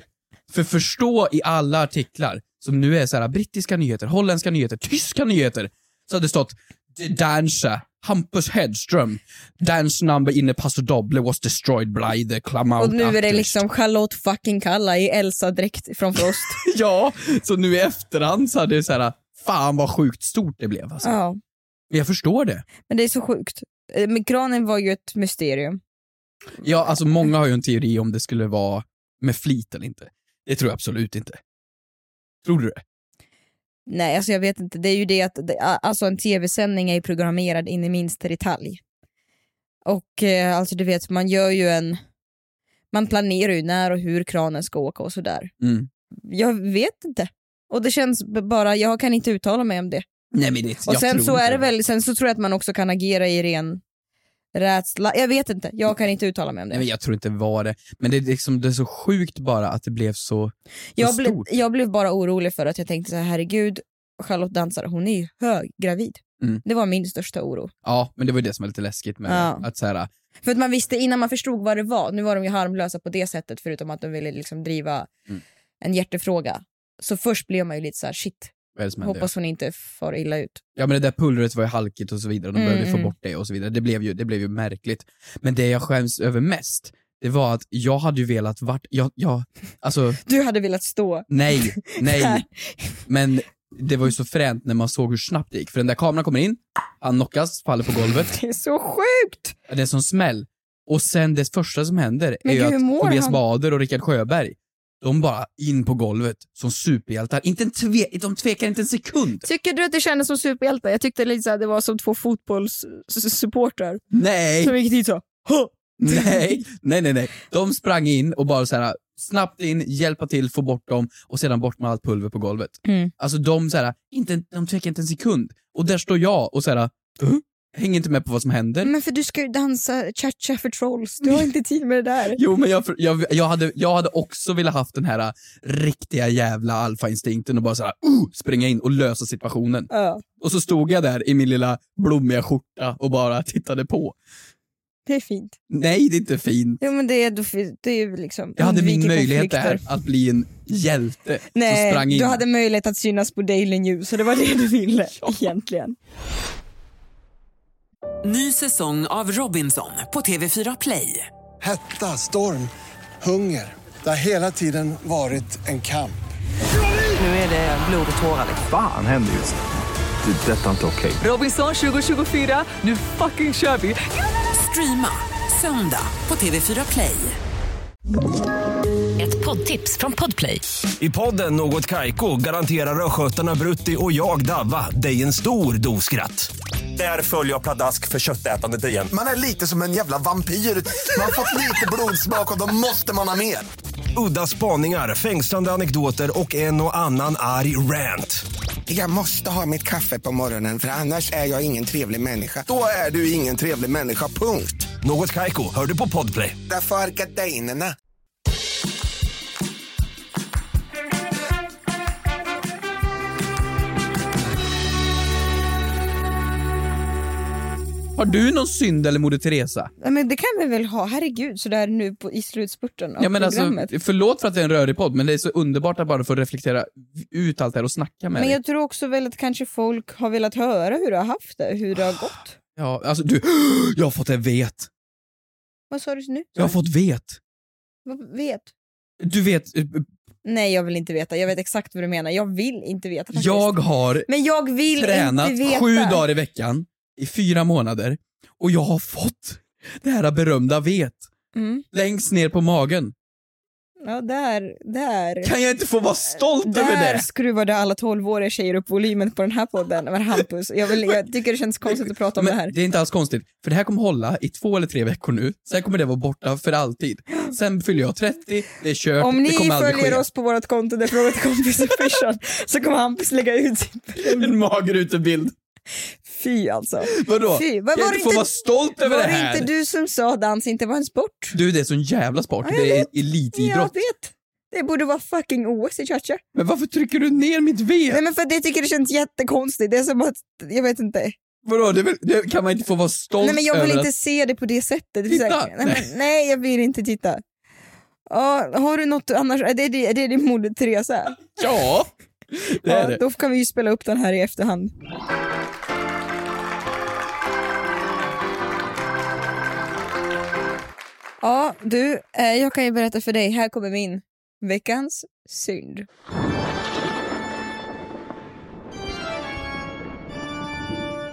Speaker 6: För förstå i alla artiklar, som nu är så här brittiska nyheter, holländska nyheter, tyska nyheter, så hade det stått "The Dancer, Hampus Hedström, dance number inne Paso Doble was destroyed by the Clamount
Speaker 5: Och nu är det
Speaker 6: actors."
Speaker 5: liksom Charlotte fucking Kalla i Elsa-dräkt från Frost.
Speaker 6: Ja, så nu i efterhand så hade det så här, fan vad sjukt stort det blev alltså.
Speaker 5: ja.
Speaker 6: Men jag förstår det.
Speaker 5: Men det är så sjukt. Eh, Men kranen var ju ett mysterium.
Speaker 6: Ja, alltså många har ju en teori om det skulle vara med flit eller inte. Det tror jag absolut inte. Tror du det?
Speaker 5: Nej, alltså jag vet inte. Det är ju det att det, a- alltså en tv-sändning är ju programmerad in i minsta detalj. Och eh, alltså du vet, man gör ju en... Man planerar ju när och hur kranen ska åka och sådär.
Speaker 6: Mm.
Speaker 5: Jag vet inte. Och det känns b- bara, jag kan inte uttala mig om det.
Speaker 6: Nej men det,
Speaker 5: Och
Speaker 6: jag
Speaker 5: sen
Speaker 6: tror
Speaker 5: så
Speaker 6: inte
Speaker 5: är det väl, sen så tror jag att man också kan agera i ren rädsla. Jag vet inte, jag kan inte uttala mig om det.
Speaker 6: Nej, men jag tror inte det var det. Men det är, liksom, det är så sjukt bara att det blev så...
Speaker 5: Jag
Speaker 6: så
Speaker 5: blev,
Speaker 6: stort.
Speaker 5: jag blev bara orolig för att jag tänkte så här, herregud, Charlotte dansar, hon är ju höggravid.
Speaker 6: Mm.
Speaker 5: Det var min största oro.
Speaker 6: Ja, men det var ju det som var lite läskigt med
Speaker 5: Ja.
Speaker 6: det. Att så här,
Speaker 5: För att man visste innan man förstod vad det var, nu var de ju harmlösa på det sättet förutom att de ville liksom driva
Speaker 6: Mm.
Speaker 5: en hjärtefråga. Så först blev man ju lite så här, shit,
Speaker 6: vad är det som hände?
Speaker 5: hoppas hon inte far illa ut.
Speaker 6: Ja men det där pulvret var ju halkigt och så vidare, de
Speaker 5: Mm,
Speaker 6: behövde få
Speaker 5: mm.
Speaker 6: bort det och så vidare. Det blev, ju, det blev ju märkligt. Men det jag skäms över mest, det var att jag hade ju velat vart... Jag, jag, alltså,
Speaker 5: Du hade velat stå.
Speaker 6: nej,
Speaker 5: Där.
Speaker 6: nej. Men det var ju så fränt när man såg hur snabbt det gick. För den där kameran kommer in, han knockas, faller på golvet.
Speaker 5: Det är så sjukt!
Speaker 6: Det är en sån smäll. Och sen det första som händer
Speaker 5: Men
Speaker 6: är
Speaker 5: gud,
Speaker 6: ju
Speaker 5: hur
Speaker 6: att
Speaker 5: mår
Speaker 6: Tobias
Speaker 5: han?
Speaker 6: Bader och Rickard Sjöberg, de bara in på golvet som superhjältar. Inte en tve, de tvekar inte en sekund.
Speaker 5: Tycker du att det kändes som superhjälte? Jag tyckte lite så här, det var som två fotbollssupportrar
Speaker 6: Nej,
Speaker 5: som gick dit så. "Hå!"
Speaker 6: nej, nej, nej, nej. De sprang in och bara så här snabbt in, hjälpa till, få bort dem och sedan bort med allt pulver på golvet.
Speaker 5: Mm.
Speaker 6: Alltså de så här, inte, en- de tvekar inte en sekund. Och där står jag och så här, "Huh? hänger inte med på vad som händer.
Speaker 5: Men för du ska ju dansa cha-cha för trolls, du har inte tid med det där.
Speaker 6: Jo, men jag, jag, jag, hade, jag hade också velat haft den här äh, riktiga jävla alfainstinkten och bara såhär, uh, springa in och lösa situationen.
Speaker 5: Ja,
Speaker 6: Och så stod jag där i min lilla blommiga skjorta och bara tittade på.
Speaker 5: det är fint.
Speaker 6: Nej, det är inte fint.
Speaker 5: Jo, men det är, då fi- det är ju liksom...
Speaker 6: Jag hade min
Speaker 5: undviker
Speaker 6: möjlighet
Speaker 5: konflikter.
Speaker 6: där att bli en hjälte som
Speaker 5: Nej,
Speaker 6: sprang in.
Speaker 5: du hade möjlighet att synas på Daily News så det var det du ville egentligen.
Speaker 1: Ny säsong av Robinson på TV4 Play.
Speaker 9: Hetta, storm, hunger. Det har hela tiden varit en kamp.
Speaker 1: Nu är det blod och tårar. liksom.
Speaker 3: Fan händer just nu. Det. är Detta är inte okej.
Speaker 1: Robinson 2024, nu fucking kör vi! Streama söndag på TV4 Play.
Speaker 11: Ett poddtips från Podplay.
Speaker 10: I podden Något Kaiko garanterar östgötarna Brutti och jag, Davva, dig en stor dos skratt. Där följer jag pladask för köttätandet igen.
Speaker 2: Man är lite som en jävla vampyr. Man har fått lite blodsmak och då måste man ha mer.
Speaker 10: Udda spaningar, fängslande anekdoter och en och annan arg rant.
Speaker 2: Jag måste ha mitt kaffe på morgonen för annars är jag ingen trevlig människa. Då är du ingen trevlig människa, punkt.
Speaker 10: Något Kaiko, hör du på podplay.
Speaker 2: Därför är gardinerna.
Speaker 6: Har du någon synd eller Moder Teresa?
Speaker 5: Ja, men det kan vi väl ha, herregud, sådär nu på, i slutspurten av
Speaker 6: Ja, men alltså,
Speaker 5: programmet.
Speaker 6: förlåt för att det är en rörig podd, men det är så underbart att bara få reflektera ut allt det här och snacka med
Speaker 5: Men
Speaker 6: dig.
Speaker 5: jag tror också väl att kanske folk har velat höra hur du har haft det, hur det har gått.
Speaker 6: Ja, alltså du, jag har fått ett vet.
Speaker 5: Vad sa du nu?
Speaker 6: Jag har fått vet.
Speaker 5: Vad vet?
Speaker 6: Du vet, eh,
Speaker 5: Nej, jag vill inte veta. Jag vet exakt vad du menar. Jag vill inte veta faktiskt.
Speaker 6: jag har
Speaker 5: Men jag vill
Speaker 6: tränat
Speaker 5: inte veta.
Speaker 6: sju dagar i veckan i fyra månader och jag har fått det här berömda vet
Speaker 5: Mm.
Speaker 6: längst ner på magen.
Speaker 5: Ja, där, där.
Speaker 6: Kan jag inte få vara stolt över
Speaker 5: Där
Speaker 6: det?
Speaker 5: skruvade alla tolvåriga tjejer upp volymen på den här podden. Men Hampus, jag, vill, jag tycker det känns konstigt att prata om det
Speaker 6: Men
Speaker 5: här.
Speaker 6: det är inte alls konstigt, för det här kommer hålla i två eller tre veckor nu, sen kommer det vara borta för alltid. Sen fyller jag 30, det är kört,
Speaker 5: Om
Speaker 6: det
Speaker 5: ni
Speaker 6: kommer aldrig ske.
Speaker 5: följer oss på vårt konto, där frågat kompis official, så kommer Hampus lägga ut sin...
Speaker 6: En mager utebild.
Speaker 5: Fy alltså.
Speaker 6: Vadå?
Speaker 5: Fy,
Speaker 6: Kan
Speaker 5: vad
Speaker 6: jag
Speaker 5: var det
Speaker 6: inte få
Speaker 5: inte-
Speaker 6: vara stolt över
Speaker 5: Var
Speaker 6: det
Speaker 5: det
Speaker 6: här?
Speaker 5: inte
Speaker 6: Du...
Speaker 5: du som sa att dans inte var en sport?
Speaker 6: det är sån jävla sport.
Speaker 5: Ja, jag
Speaker 6: det är
Speaker 5: vet. Jag
Speaker 6: elitidrott.
Speaker 5: vet. Det borde vara fucking OS i Körsö.
Speaker 6: Men varför trycker du ner mitt V?
Speaker 5: Nej men för att jag tycker det känns jättekonstigt. Det är som att, jag vet inte.
Speaker 6: Vadå, det, är väl- det kan man inte få vara stolt
Speaker 5: Nej men jag vill
Speaker 6: över
Speaker 5: inte se det på det sättet. Det är
Speaker 6: Titta!
Speaker 5: så här- nej, men, nej jag vill inte titta. Ja, har du något annars? Är det, det, är det din Moder Teresa?
Speaker 6: att... Ja, det
Speaker 5: Ja,
Speaker 6: är det.
Speaker 5: Då kan vi ju spela upp den här i efterhand. Ja, du, eh, jag kan ju berätta för dig. Här kommer min veckans synd.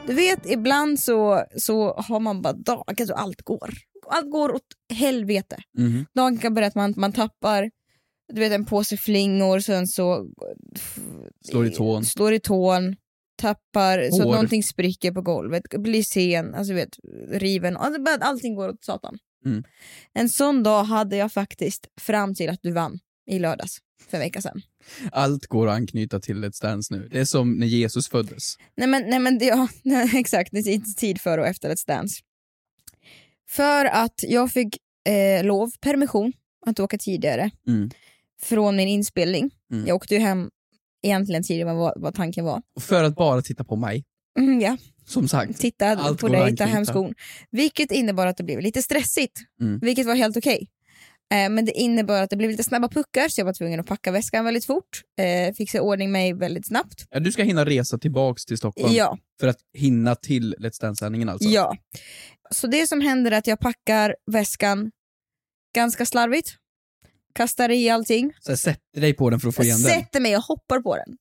Speaker 5: Du vet, ibland så, så har man bara dagar så allt går. Allt går åt helvete.
Speaker 6: Mhm.
Speaker 5: Dagen kan börja att man, man tappar du vet, en påse flingor, sen så
Speaker 6: Slår i tån.
Speaker 5: slår i tån, tappar så att
Speaker 6: Hår.
Speaker 5: någonting spricker på golvet, blir sen, alltså du vet, riven. Alltså, bara Allting går åt satan.
Speaker 6: Mm.
Speaker 5: En sån dag hade jag faktiskt fram till att du vann i lördags för en vecka sedan.
Speaker 6: Allt går att anknyta till ett Dance nu. Det är som när Jesus föddes.
Speaker 5: Nej men, nej, men det- ja, nej, exakt, det är inte tid för och efter Let's Dance. För att jag fick eh, lov, permission, att åka tidigare
Speaker 6: Mm.
Speaker 5: från min inspelning.
Speaker 6: Mm.
Speaker 5: Jag åkte ju hem egentligen tidigare än vad, vad tanken var.
Speaker 6: Och För att bara titta på mig,
Speaker 5: Mm, ja.
Speaker 6: som sagt.
Speaker 5: titta
Speaker 6: Allt
Speaker 5: på
Speaker 6: går att
Speaker 5: dig, ta
Speaker 6: anknyta.
Speaker 5: hem skon. Vilket innebar att det blev lite stressigt,
Speaker 6: Mm.
Speaker 5: vilket var helt okej. Eh, men det innebar att det blev lite snabba puckar så jag var tvungen att packa väskan väldigt fort, eh, fixa i ordning mig väldigt snabbt.
Speaker 6: Ja, du ska hinna resa tillbaks till Stockholm
Speaker 5: Ja,
Speaker 6: för att hinna till Let's Dance-sändningen alltså?
Speaker 5: ja. Så det som händer är att jag packar väskan ganska slarvigt, kastar i allting,
Speaker 6: Så här, sätter dig på den för att få igen
Speaker 5: jag
Speaker 6: den?
Speaker 5: sätter mig och hoppar på den.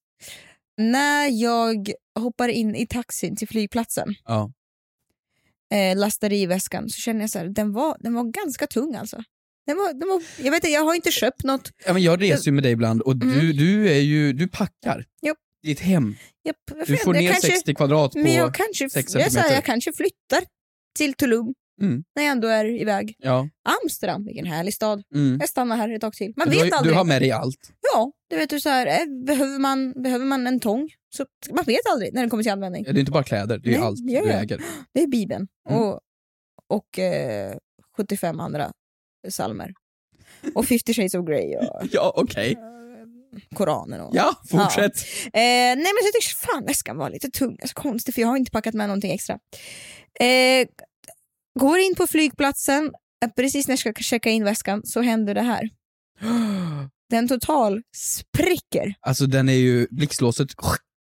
Speaker 5: När jag hoppar in i taxin till flygplatsen
Speaker 6: Ja.
Speaker 5: eh, lastade i väskan så kände jag så här, den var, den var ganska tung alltså. Den var, den var, jag vet inte, jag har inte köpt något.
Speaker 6: ja men jag reser ju med dig ibland och du, du, är ju, du packar
Speaker 5: Mm. Jo.
Speaker 6: ditt hem.
Speaker 5: Jag, jag,
Speaker 6: Du får
Speaker 5: jag
Speaker 6: ner
Speaker 5: kanske,
Speaker 6: 60 kvadrat på...
Speaker 5: men jag kanske,
Speaker 6: sex
Speaker 5: jag, så här,
Speaker 6: centimeter.
Speaker 5: jag kanske flyttar till Tulum
Speaker 6: Mm.
Speaker 5: när jag ändå är iväg.
Speaker 6: Ja.
Speaker 5: Amsterdam, vilken härlig stad.
Speaker 6: Mm.
Speaker 5: Jag stannar här ett tag till. Man
Speaker 6: du,
Speaker 5: vet
Speaker 6: har, du
Speaker 5: aldrig.
Speaker 6: har med dig allt.
Speaker 5: Ja, du vet du så här, eh, behöver, man, behöver man en tång? Så, man vet aldrig när den kommer till användning.
Speaker 6: Det är inte bara kläder, det är
Speaker 5: Nej,
Speaker 6: allt
Speaker 5: ja,
Speaker 6: du
Speaker 5: ja.
Speaker 6: äger.
Speaker 5: Det är Bibeln
Speaker 6: Mm.
Speaker 5: och, och eh, 75 andra psalmer. Och 50 shades of Grey och
Speaker 6: Ja, okej.
Speaker 5: Koranen. Och,
Speaker 6: Ja, fortsätt.
Speaker 5: Eh, nej men så jag tyckte fan väskan var lite tung, alltså, konstigt för jag har inte packat med någonting extra. Eh, går in på flygplatsen, eh, precis när jag ska checka in väskan så händer det här. Den total spricker.
Speaker 6: Alltså den är ju, blixtlåset,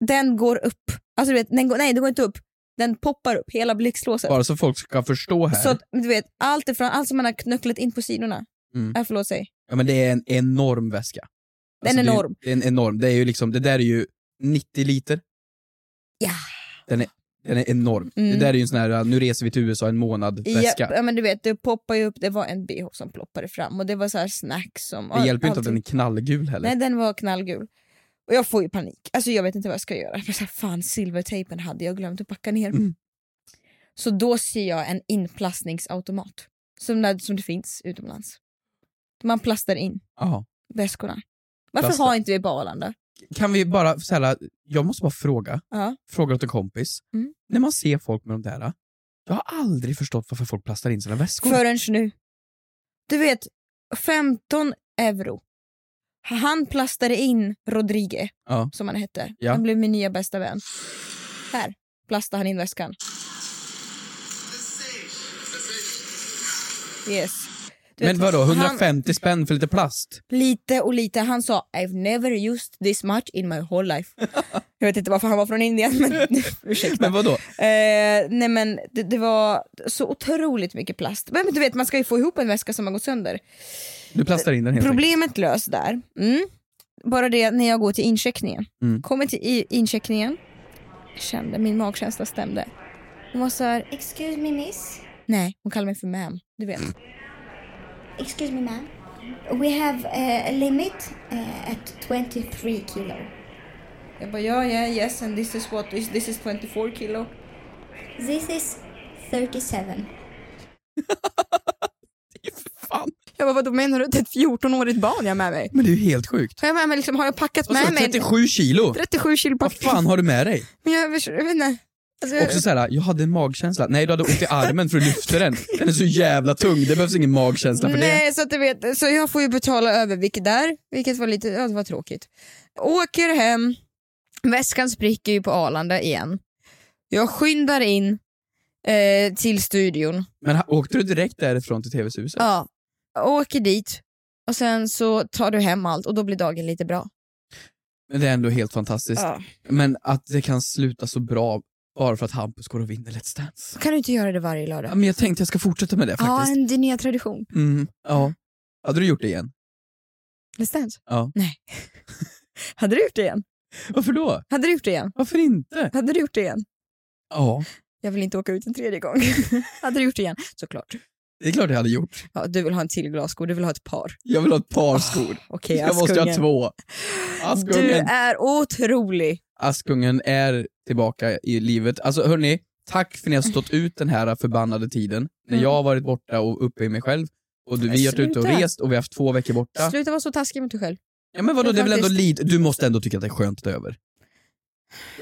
Speaker 5: Den går upp. Alltså du vet, den går, nej den går inte upp. Den poppar upp, hela blixtlåset.
Speaker 6: bara så folk ska förstå här.
Speaker 5: Så att, du vet, allt ifrån allt som man har knucklat in på sidorna.
Speaker 6: Mm.
Speaker 5: Äh, förlåt sig.
Speaker 6: Ja men det är en enorm väska. Alltså,
Speaker 5: Den är
Speaker 6: det
Speaker 5: enorm.
Speaker 6: Det är en enorm, det är ju liksom, det där är ju 90 liter.
Speaker 5: Ja.
Speaker 6: Den är, den är enorm.
Speaker 5: Mm.
Speaker 6: Det där är ju en sån här, äh, nu reser vi till USA en månad väska.
Speaker 5: Ja, ja, men du vet, det poppar ju upp, det var en bh som ploppade fram och det var så här snacks som...
Speaker 6: Det hjälper ju inte att
Speaker 5: allting.
Speaker 6: den är knallgul heller.
Speaker 5: Nej, den var knallgul. Och jag får ju panik. Alltså jag vet inte vad jag ska göra. Jag så här, fan, silvertejpen hade jag glömt att packa ner.
Speaker 6: Mm.
Speaker 5: Så då ser jag en inplastningsautomat. Som, när, som det finns utomlands. Man plastar in
Speaker 6: Ja.
Speaker 5: väskorna. Varför
Speaker 6: Plastar.
Speaker 5: har inte vi på Arlanda?
Speaker 6: Kan vi bara, så här, jag måste bara fråga,
Speaker 5: Ja.
Speaker 6: fråga åt en kompis.
Speaker 5: Mm.
Speaker 6: När man ser folk med de där, Jag har aldrig förstått varför folk plastar in sina väskor.
Speaker 5: Förrän nu. Du vet, 15 euro. Han plastade in Rodrigue,
Speaker 6: Ja.
Speaker 5: som han hette.
Speaker 6: Ja.
Speaker 5: Han blev min nya bästa vän. Här plastade han in väskan. Yes. Du
Speaker 6: Men
Speaker 5: vet,
Speaker 6: vadå,
Speaker 5: han-
Speaker 6: 150 spänn för lite plast?
Speaker 5: Lite och lite. Han sa I've never used this much in my whole life. Jag vet inte varför han var från Indien, men ursäkta.
Speaker 6: Men vadå?
Speaker 5: Eh, nej men det, det var så otroligt mycket plast. Men du vet man ska ju få ihop en väska som har gått sönder.
Speaker 6: Du plastar in den helt enkelt.
Speaker 5: Problemet löst där. Mm. Bara det när jag går till incheckningen.
Speaker 6: Mm.
Speaker 5: Kommer till i- incheckningen, kände min magkänsla stämde. Hon var så här,
Speaker 11: Excuse me, miss.
Speaker 5: nej hon kallar mig för ma'am, du vet.
Speaker 11: Excuse me, ma'am. We have uh, a limit uh, at 23 kilo.
Speaker 5: Jag bara ja, ja, yes and this is what, this, this is 24 kilo.
Speaker 11: This is 37.
Speaker 6: Fan.
Speaker 5: Jag bara vadå menar du? Det är ett 14-årigt barn jag har med mig.
Speaker 6: Men det är ju helt sjukt.
Speaker 5: Har jag med mig liksom, har jag packat
Speaker 6: Och så
Speaker 5: med mig?
Speaker 6: 37 kilo!
Speaker 5: 37 kilo
Speaker 6: Alltså, Vad
Speaker 5: pack.
Speaker 6: fan har du med dig?
Speaker 5: Men jag, jag vet inte. Alltså,
Speaker 6: Också såhär, jag hade en magkänsla. Nej, du hade ont i armen för att lyfta den. Den är så jävla tung, det behövs ingen magkänsla för det.
Speaker 5: Nej, så att du vet, så jag får ju betala övervikt där, vilket var lite, ja, det var tråkigt. Åker hem, väskan spricker ju på Arlanda igen. Jag skyndar in eh, till studion,
Speaker 6: Men ha- åkte du direkt därifrån till TV-huset?
Speaker 5: ja. åker dit och sen så tar du hem allt och då blir dagen lite bra.
Speaker 6: Men det är ändå helt fantastiskt.
Speaker 5: Ja.
Speaker 6: Men att det kan sluta så bra bara för att Hampus går och vinner Let's Dance.
Speaker 5: Kan du inte göra det varje lördag?
Speaker 6: Ja, men jag tänkte jag ska fortsätta med det
Speaker 5: Ja,
Speaker 6: faktiskt.
Speaker 5: en din nya tradition.
Speaker 6: Mm, ja. Hade du gjort det igen?
Speaker 5: Let's dance.
Speaker 6: Ja.
Speaker 5: Nej. Hade du gjort det igen?
Speaker 6: Varför då?
Speaker 5: Hade du gjort det igen?
Speaker 6: Varför inte?
Speaker 5: Hade du gjort det igen?
Speaker 6: Ja,
Speaker 5: Jag vill inte åka ut en tredje gång. hade du gjort det igen? Såklart.
Speaker 6: det är klart jag hade gjort.
Speaker 5: Ja, du vill ha en till glassko, du vill ha ett par.
Speaker 6: Jag vill ha ett par skor.
Speaker 5: Ah, Okej,
Speaker 6: jag måste ha
Speaker 5: Askungen.
Speaker 6: två.
Speaker 5: Du
Speaker 6: Askungen,
Speaker 5: är otrolig.
Speaker 6: Askungen är tillbaka i livet. Alltså hörni, tack för att ni har stått ut den här förbannade tiden. När jag har varit borta och uppe i mig själv. Och du, vi har varit ute och
Speaker 5: Mm. Sluta.
Speaker 6: rest och vi har haft två veckor borta.
Speaker 5: Sluta vara så taskig mot dig själv.
Speaker 6: Ja men vadå, det är väl ändå
Speaker 5: Faktiskt.
Speaker 6: lite, du måste ändå tycka att det är skönt att det är över.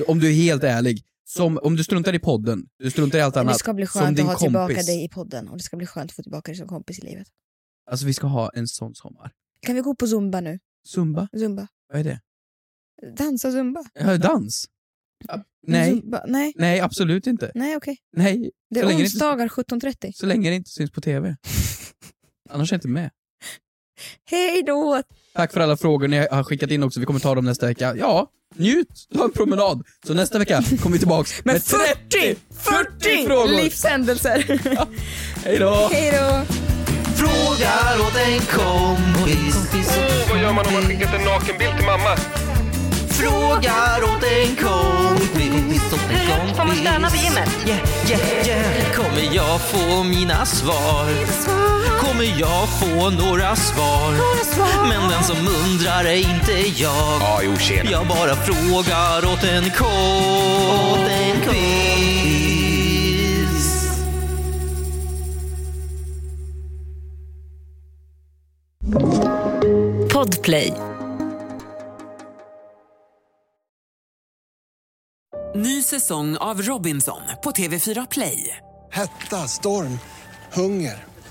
Speaker 6: Om du är helt ärlig, som, om du struntar i podden, du struntar i allt annat.
Speaker 5: det ska bli
Speaker 6: som
Speaker 5: skönt
Speaker 6: din
Speaker 5: att ha tillbaka
Speaker 6: kompis.
Speaker 5: dig i podden och det ska bli skönt att få tillbaka dig som kompis i livet.
Speaker 6: Alltså vi ska ha en sån sommar.
Speaker 5: Kan vi gå på zumba nu?
Speaker 6: Zumba,
Speaker 5: Zumba.
Speaker 6: vad är det?
Speaker 5: Dansa zumba.
Speaker 6: Ja, dans? Ja, Nej,
Speaker 5: Zumba. Nej,
Speaker 6: nej absolut inte.
Speaker 5: nej okej.
Speaker 6: Nej,
Speaker 5: Det
Speaker 6: Så
Speaker 5: är
Speaker 6: länge det inte-
Speaker 5: onsdagar 17.30.
Speaker 6: så länge det inte syns på TV. Annars är jag inte med.
Speaker 5: Hej då!
Speaker 6: Tack för alla frågor ni har skickat in också, vi kommer ta dem nästa vecka. Ja, njut! Ta en promenad! Så nästa vecka kommer vi tillbaks med 30! 40 frågor!
Speaker 5: Livshändelser!
Speaker 6: Hej då!
Speaker 5: Hej då!
Speaker 12: Frågar åt en kompis.
Speaker 10: Vad gör man om man skickat en nakenbild till mamma?
Speaker 12: Frågar åt en kompis. Får man stöna på gymmet? Yeah, yeah, yeah. Kommer jag få mina svar? Kommer jag få några svar? Men den som undrar är inte jag.
Speaker 10: Ja, jo tjena.
Speaker 12: Jag bara frågar åt en kompis.
Speaker 13: Podplay.
Speaker 1: Ny säsong av Robinson på TV4 Play.
Speaker 9: Hetta, storm, hunger.